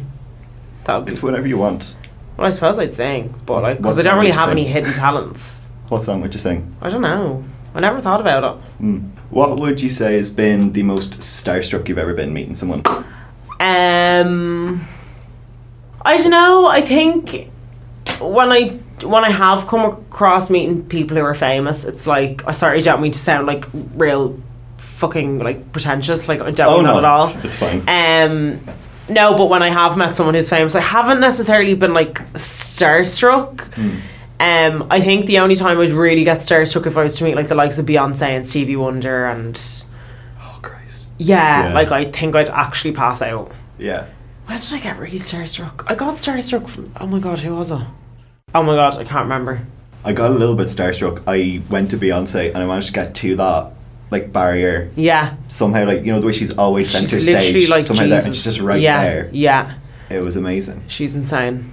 [SPEAKER 5] That would be.
[SPEAKER 4] It's whatever you want.
[SPEAKER 5] Well, I suppose I'd sing, but
[SPEAKER 4] What-
[SPEAKER 5] like,
[SPEAKER 4] what
[SPEAKER 5] because I
[SPEAKER 4] song
[SPEAKER 5] don't really
[SPEAKER 4] would you
[SPEAKER 5] have
[SPEAKER 4] sing?
[SPEAKER 5] any hidden talents.
[SPEAKER 4] What song would you sing? Hmm.
[SPEAKER 5] I don't know. I never thought about it.
[SPEAKER 4] What would you say has been the most starstruck you've ever been meeting someone? Oh,
[SPEAKER 5] Um, I don't know. I think when I when I have come across meeting people who are famous, it's like I sorry, I don't mean to sound like real fucking like pretentious. Like I don't
[SPEAKER 4] Oh,
[SPEAKER 5] mean
[SPEAKER 4] no,
[SPEAKER 5] that at all.
[SPEAKER 4] it's- it's fine.
[SPEAKER 5] Um, no, but when I have met someone who's famous, I haven't necessarily been like starstruck.
[SPEAKER 4] Hmm.
[SPEAKER 5] Um, I think the only time I'd really get starstruck if I was to meet like the likes of Beyonce and Stevie Wonder and
[SPEAKER 4] Oh Christ.
[SPEAKER 5] yeah,
[SPEAKER 4] Yeah.
[SPEAKER 5] like I think I'd actually pass out.
[SPEAKER 4] Yeah.
[SPEAKER 5] When did I get really starstruck? I got starstruck. From, oh my god, who was I? Oh my god, I can't remember.
[SPEAKER 4] I got a little bit starstruck. I went to Beyonce and I managed to get to that like barrier
[SPEAKER 5] Yeah,
[SPEAKER 4] somehow. Like you know the way she's always center
[SPEAKER 5] she's
[SPEAKER 4] stage.
[SPEAKER 5] literally like
[SPEAKER 4] somehow
[SPEAKER 5] Jesus.
[SPEAKER 4] there, and she's just right
[SPEAKER 5] yeah,
[SPEAKER 4] there.
[SPEAKER 5] Yeah,
[SPEAKER 4] It was amazing.
[SPEAKER 5] she's insane.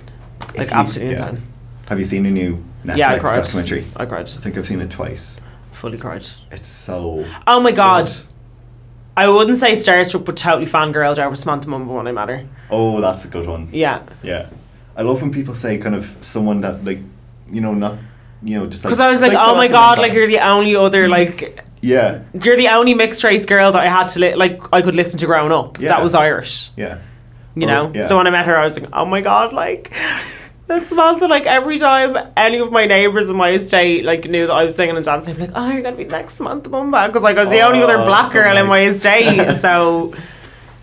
[SPEAKER 5] Like
[SPEAKER 4] you-
[SPEAKER 5] absolutely
[SPEAKER 4] yeah.
[SPEAKER 5] insane.
[SPEAKER 4] Have you seen a new Netflix
[SPEAKER 5] Yeah, I cried.
[SPEAKER 4] documentary?
[SPEAKER 5] I cried.
[SPEAKER 4] I think I've seen it twice.
[SPEAKER 5] fully cried.
[SPEAKER 4] It's so.
[SPEAKER 5] Oh my god.
[SPEAKER 4] good.
[SPEAKER 5] I wouldn't say starstruck, but totally fangirled over Samantha Mumba when I met her.
[SPEAKER 4] Oh, that's a good one.
[SPEAKER 5] Yeah.
[SPEAKER 4] Yeah. I love when people say kind of someone that like, you know, not, you know, just like.
[SPEAKER 5] Because I was like,
[SPEAKER 4] thanks a
[SPEAKER 5] oh
[SPEAKER 4] lot
[SPEAKER 5] my
[SPEAKER 4] for
[SPEAKER 5] god,
[SPEAKER 4] that."
[SPEAKER 5] like you're the only other, like,
[SPEAKER 4] Yeah.
[SPEAKER 5] you're the only mixed race girl that I had to, li- like, I could listen to growing up.
[SPEAKER 4] Yeah.
[SPEAKER 5] That was Irish,
[SPEAKER 4] Yeah.
[SPEAKER 5] you
[SPEAKER 4] Or-
[SPEAKER 5] know?
[SPEAKER 4] yeah.
[SPEAKER 5] So when I met her, I was like, oh my god, like, this Samantha, like, every time any of my neighbours in my estate, like, knew that I was singing and dancing, they'd be like, oh, you're going to be next Samantha Mumba. Because, like, I was the only
[SPEAKER 4] Oh,
[SPEAKER 5] other black
[SPEAKER 4] so
[SPEAKER 5] girl in my
[SPEAKER 4] nice.
[SPEAKER 5] estate. so,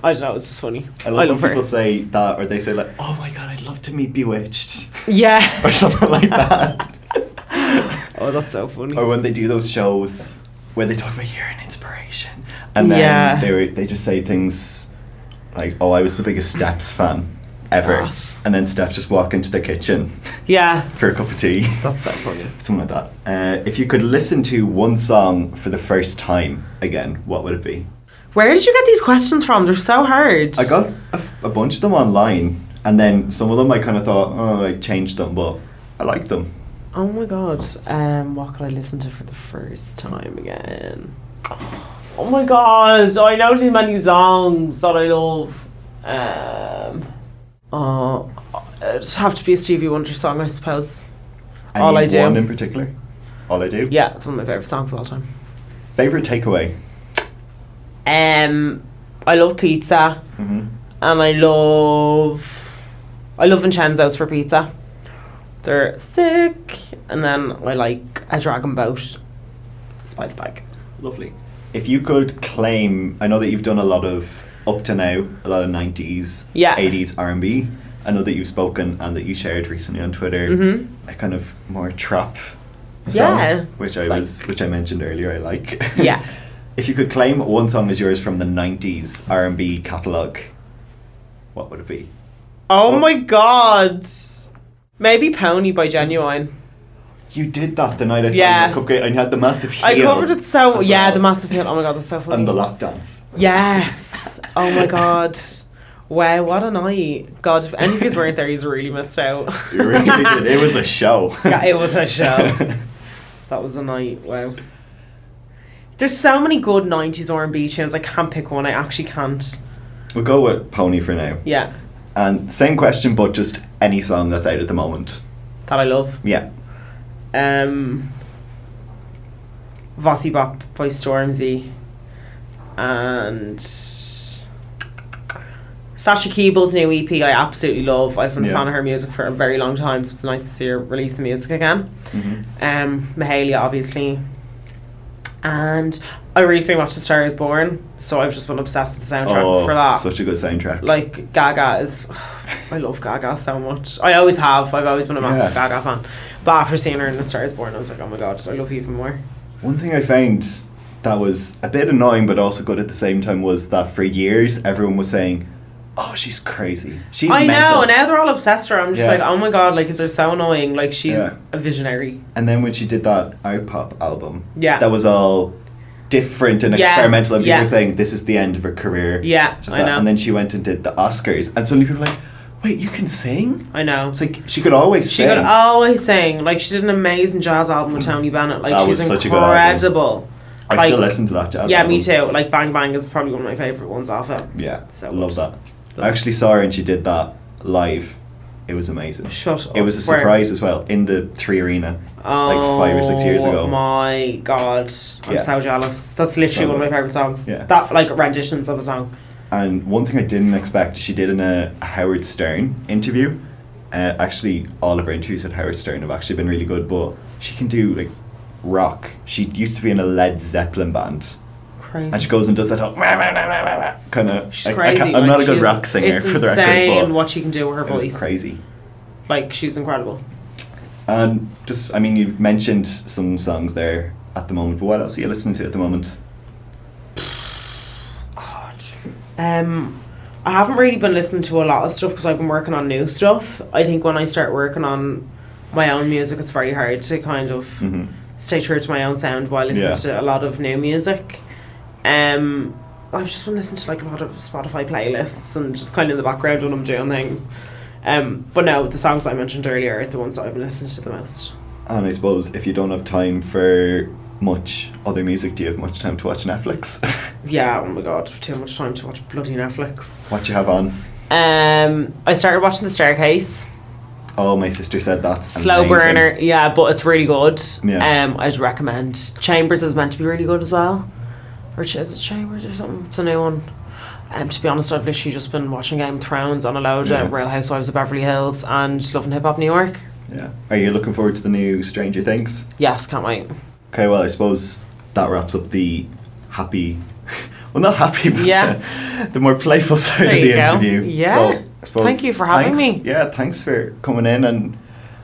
[SPEAKER 5] I don't know, it's just funny.
[SPEAKER 4] I love, when people say that, or they say like, "Oh my god, I'd love to meet Bewitched,"
[SPEAKER 5] Yeah.
[SPEAKER 4] or something like that.
[SPEAKER 5] oh, that's so funny.
[SPEAKER 4] or when they do those shows where they talk about you're an inspiration, and then
[SPEAKER 5] Yeah.
[SPEAKER 4] they were- they just say things like, "Oh, I was the biggest Steps fan ever,"
[SPEAKER 5] Yes.
[SPEAKER 4] and then Steps just walk into the kitchen
[SPEAKER 5] Yeah.
[SPEAKER 4] for a cup of tea,
[SPEAKER 5] That's so funny.
[SPEAKER 4] something like that. Uh, if you could listen to one song for the first time again, what would it be?
[SPEAKER 5] Where did you get these questions from? They're so hard.
[SPEAKER 4] I got a, f- a bunch of them online, and then some of them I kind of thought, oh, I changed them, but I like them.
[SPEAKER 5] Oh my god. Um, what could I listen to for the first time again? Oh my god. I know too many songs that I love. Um, oh, it'd have to be a Stevie Wonder song, I suppose.
[SPEAKER 4] Any
[SPEAKER 5] All I do.
[SPEAKER 4] One in particular. All I do.
[SPEAKER 5] Yeah, it's one of my favorite songs of all time.
[SPEAKER 4] Favorite takeaway.
[SPEAKER 5] Um, I love pizza,
[SPEAKER 4] Mhm.
[SPEAKER 5] and I love I love Vincenzo's for pizza. They're sick, and then I like a dragon boat spice bag.
[SPEAKER 4] Lovely. If you could claim, I know that you've done a lot of up to now, a lot of nineties,
[SPEAKER 5] Yeah.
[SPEAKER 4] eighties R and B. I know that you've spoken and that you shared recently on Twitter
[SPEAKER 5] Mm-hmm.
[SPEAKER 4] a kind of more trap. Song,
[SPEAKER 5] Yeah,
[SPEAKER 4] which
[SPEAKER 5] it's
[SPEAKER 4] I
[SPEAKER 5] like-
[SPEAKER 4] was, which I mentioned earlier, I like.
[SPEAKER 5] Yeah.
[SPEAKER 4] if you could claim one song as yours from the '90s R&B catalog, what would it be?
[SPEAKER 5] Oh my god! Maybe Pony by Genuine.
[SPEAKER 4] You did that the night I saw
[SPEAKER 5] Yeah.
[SPEAKER 4] you at Cupcake, and you had the massive heel.
[SPEAKER 5] I covered it so
[SPEAKER 4] as
[SPEAKER 5] yeah,
[SPEAKER 4] well.
[SPEAKER 5] the massive hill. Oh my god, that's so funny.
[SPEAKER 4] and the lap dance.
[SPEAKER 5] yes. Oh my god. Wow, what a night! God, if any of you weren't there, he's really missed out.
[SPEAKER 4] You really did. It was a show.
[SPEAKER 5] Yeah, it was a show. That was a night. Wow. There's so many good '90s R&B tunes. I can't pick one. I actually can't.
[SPEAKER 4] we'll go with Pony for now.
[SPEAKER 5] Yeah,
[SPEAKER 4] And same question, but just any song that's out at the moment.
[SPEAKER 5] that I love.
[SPEAKER 4] Yeah.
[SPEAKER 5] Um, Vossy Bop by Stormzy, and Sasha Keeble's new EP. I absolutely love. I've been
[SPEAKER 4] Yeah.
[SPEAKER 5] a fan of her music for a very long time, so it's nice to see her releasing music again. Um, Mahalia, obviously. And I recently watched A Star Is Born, so I've just been obsessed with the soundtrack for that.
[SPEAKER 4] Oh, such a good soundtrack.
[SPEAKER 5] like Gaga is, I love Gaga so much. I always have. I've always been a massive
[SPEAKER 4] Yeah.
[SPEAKER 5] Gaga fan. But after seeing her in A Star Is Born, I was like, oh my god, I love you even more.
[SPEAKER 4] One thing I found that was a bit annoying but also good at the same time was that for years everyone was saying, "Oh, she's crazy. She's
[SPEAKER 5] I
[SPEAKER 4] mental."
[SPEAKER 5] know, and now they're all obsessed with her. I'm just
[SPEAKER 4] Yeah.
[SPEAKER 5] like, oh my god, like, is her so annoying? Like, she's
[SPEAKER 4] Yeah.
[SPEAKER 5] a visionary.
[SPEAKER 4] And then when she did that out pop album,
[SPEAKER 5] Yeah.
[SPEAKER 4] that was all different and
[SPEAKER 5] Yeah,
[SPEAKER 4] experimental, and people
[SPEAKER 5] yeah.
[SPEAKER 4] were saying this is the end of her career.
[SPEAKER 5] Yeah,
[SPEAKER 4] Just
[SPEAKER 5] I
[SPEAKER 4] that.
[SPEAKER 5] know.
[SPEAKER 4] And then she went and did the Oscars, and suddenly people were like, "Wait, you can sing?"
[SPEAKER 5] I know.
[SPEAKER 4] It's like she could always
[SPEAKER 5] She
[SPEAKER 4] sing.
[SPEAKER 5] could always sing. Like she did an amazing jazz album with Tony Bennett. Like
[SPEAKER 4] That
[SPEAKER 5] she's
[SPEAKER 4] was such a good album.
[SPEAKER 5] incredible.
[SPEAKER 4] I still
[SPEAKER 5] like-
[SPEAKER 4] listen to that jazz.
[SPEAKER 5] yeah,
[SPEAKER 4] album.
[SPEAKER 5] me too. Like Bang Bang is probably one of my favorite ones off it.
[SPEAKER 4] Yeah,
[SPEAKER 5] So
[SPEAKER 4] love
[SPEAKER 5] good.
[SPEAKER 4] that. I actually saw her and she did that live. It was amazing.
[SPEAKER 5] Shut up.
[SPEAKER 4] It was a
[SPEAKER 5] Where?
[SPEAKER 4] surprise as well in the Three Arena.
[SPEAKER 5] Oh,
[SPEAKER 4] five or six years ago.
[SPEAKER 5] My God, I'm
[SPEAKER 4] Yeah.
[SPEAKER 5] so jealous. That's literally
[SPEAKER 4] So
[SPEAKER 5] one of my
[SPEAKER 4] good.
[SPEAKER 5] favorite songs.
[SPEAKER 4] Yeah.
[SPEAKER 5] That like renditions of a song.
[SPEAKER 4] And one thing I didn't expect, she did in a Howard Stern interview. Uh, actually, all of her interviews at Howard Stern have actually been really good, but she can do like rock. She used to be in a Led Zeppelin band.
[SPEAKER 5] Crazy.
[SPEAKER 4] And she goes and does that whole kind of.
[SPEAKER 5] She's crazy.
[SPEAKER 4] I, am
[SPEAKER 5] like,
[SPEAKER 4] not a
[SPEAKER 5] she's-
[SPEAKER 4] good rock singer
[SPEAKER 5] it's
[SPEAKER 4] for the
[SPEAKER 5] insane
[SPEAKER 4] record, but
[SPEAKER 5] what she can do with her
[SPEAKER 4] it was
[SPEAKER 5] voice.
[SPEAKER 4] crazy.
[SPEAKER 5] Like she's incredible.
[SPEAKER 4] And just, I mean, you've mentioned some songs there at the moment, but what else are you listening to at the moment?
[SPEAKER 5] God. Um, I haven't really been listening to a lot of stuff because I've been working on new stuff. I think when I start working on my own music, it's very hard to kind of
[SPEAKER 4] Mm-hmm.
[SPEAKER 5] stay true to my own sound while listening
[SPEAKER 4] Yeah.
[SPEAKER 5] to a lot of new music. Um, I've just been listening to like a lot of Spotify playlists and just kind of in the background when I'm doing things. Um, but no, the songs I mentioned earlier are the ones that I've been listening to the most.
[SPEAKER 4] And I suppose if you don't have time for
[SPEAKER 6] much other music? Do you have much time to watch Netflix?
[SPEAKER 5] Yeah, oh my god, too much time to watch bloody Netflix.
[SPEAKER 6] what you have on?
[SPEAKER 5] Um, I started watching The Staircase.
[SPEAKER 6] Oh, my sister said that.
[SPEAKER 5] Slow
[SPEAKER 6] Amazing.
[SPEAKER 5] burner, yeah, but it's really good.
[SPEAKER 6] Yeah.
[SPEAKER 5] Um, I'd recommend. Chambers is meant to be really good as well, or Ch- is it Chambers or something? It's a new one. Um, to be honest, I've literally just been watching Game of Thrones on a load,
[SPEAKER 6] Yeah.
[SPEAKER 5] uh, Real Housewives of Beverly Hills, and Love and Hip Hop New York.
[SPEAKER 6] Yeah. Are you looking forward to the new Stranger Things?
[SPEAKER 5] Yes, can't wait.
[SPEAKER 6] Okay, well, I suppose that wraps up the happy. Well, not happy, but
[SPEAKER 5] Yeah.
[SPEAKER 6] the, the more playful side
[SPEAKER 5] There
[SPEAKER 6] of the
[SPEAKER 5] you go.
[SPEAKER 6] interview.
[SPEAKER 5] Yeah.
[SPEAKER 6] So, I suppose
[SPEAKER 5] Thank you for having
[SPEAKER 6] thanks-
[SPEAKER 5] me.
[SPEAKER 6] Yeah, thanks for coming in and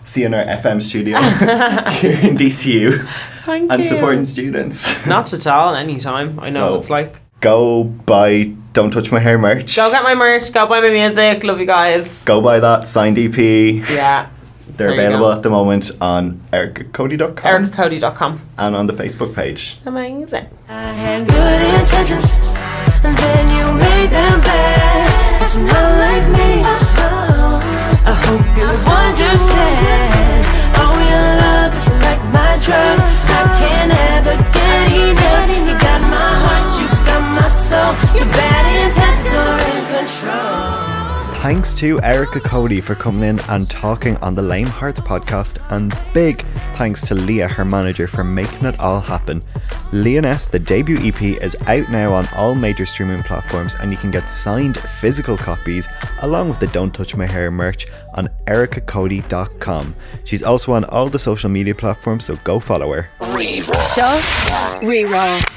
[SPEAKER 6] seeing our FM studio here in DCU
[SPEAKER 5] Thank
[SPEAKER 6] and
[SPEAKER 5] you.
[SPEAKER 6] supporting students.
[SPEAKER 5] Not at all. Anytime. I know
[SPEAKER 6] So-
[SPEAKER 5] what it's like.
[SPEAKER 6] Go buy Don't Touch My Hair merch.
[SPEAKER 5] Go get my merch. Go buy my music. Love you guys.
[SPEAKER 6] Go buy that signed EP.
[SPEAKER 5] Yeah.
[SPEAKER 6] They're
[SPEAKER 5] There you
[SPEAKER 6] available
[SPEAKER 5] go.
[SPEAKER 6] at the moment on ericacody.com
[SPEAKER 5] EricCody.com.
[SPEAKER 6] and on the Facebook page.
[SPEAKER 5] Amazing.
[SPEAKER 1] I had good intentions, and then you made them bad. It's not like me. uh-huh. I hope you understand. Oh, your love is like my drug. I can't ever get enough. You got my heart, you got my soul. Your bad intentions are in control.
[SPEAKER 4] Thanks to Erica Cody for coming in and talking on the Lame Heart podcast, and big thanks to Leah, her manager, for making it all happen. Leoness, the debut EP, is out now on all major streaming platforms, and you can get signed physical copies along with the Don't Touch My Hair merch on ericacody.com. She's also on all the social media platforms, so go follow her.
[SPEAKER 3] Reroll.
[SPEAKER 7] Show, reroll.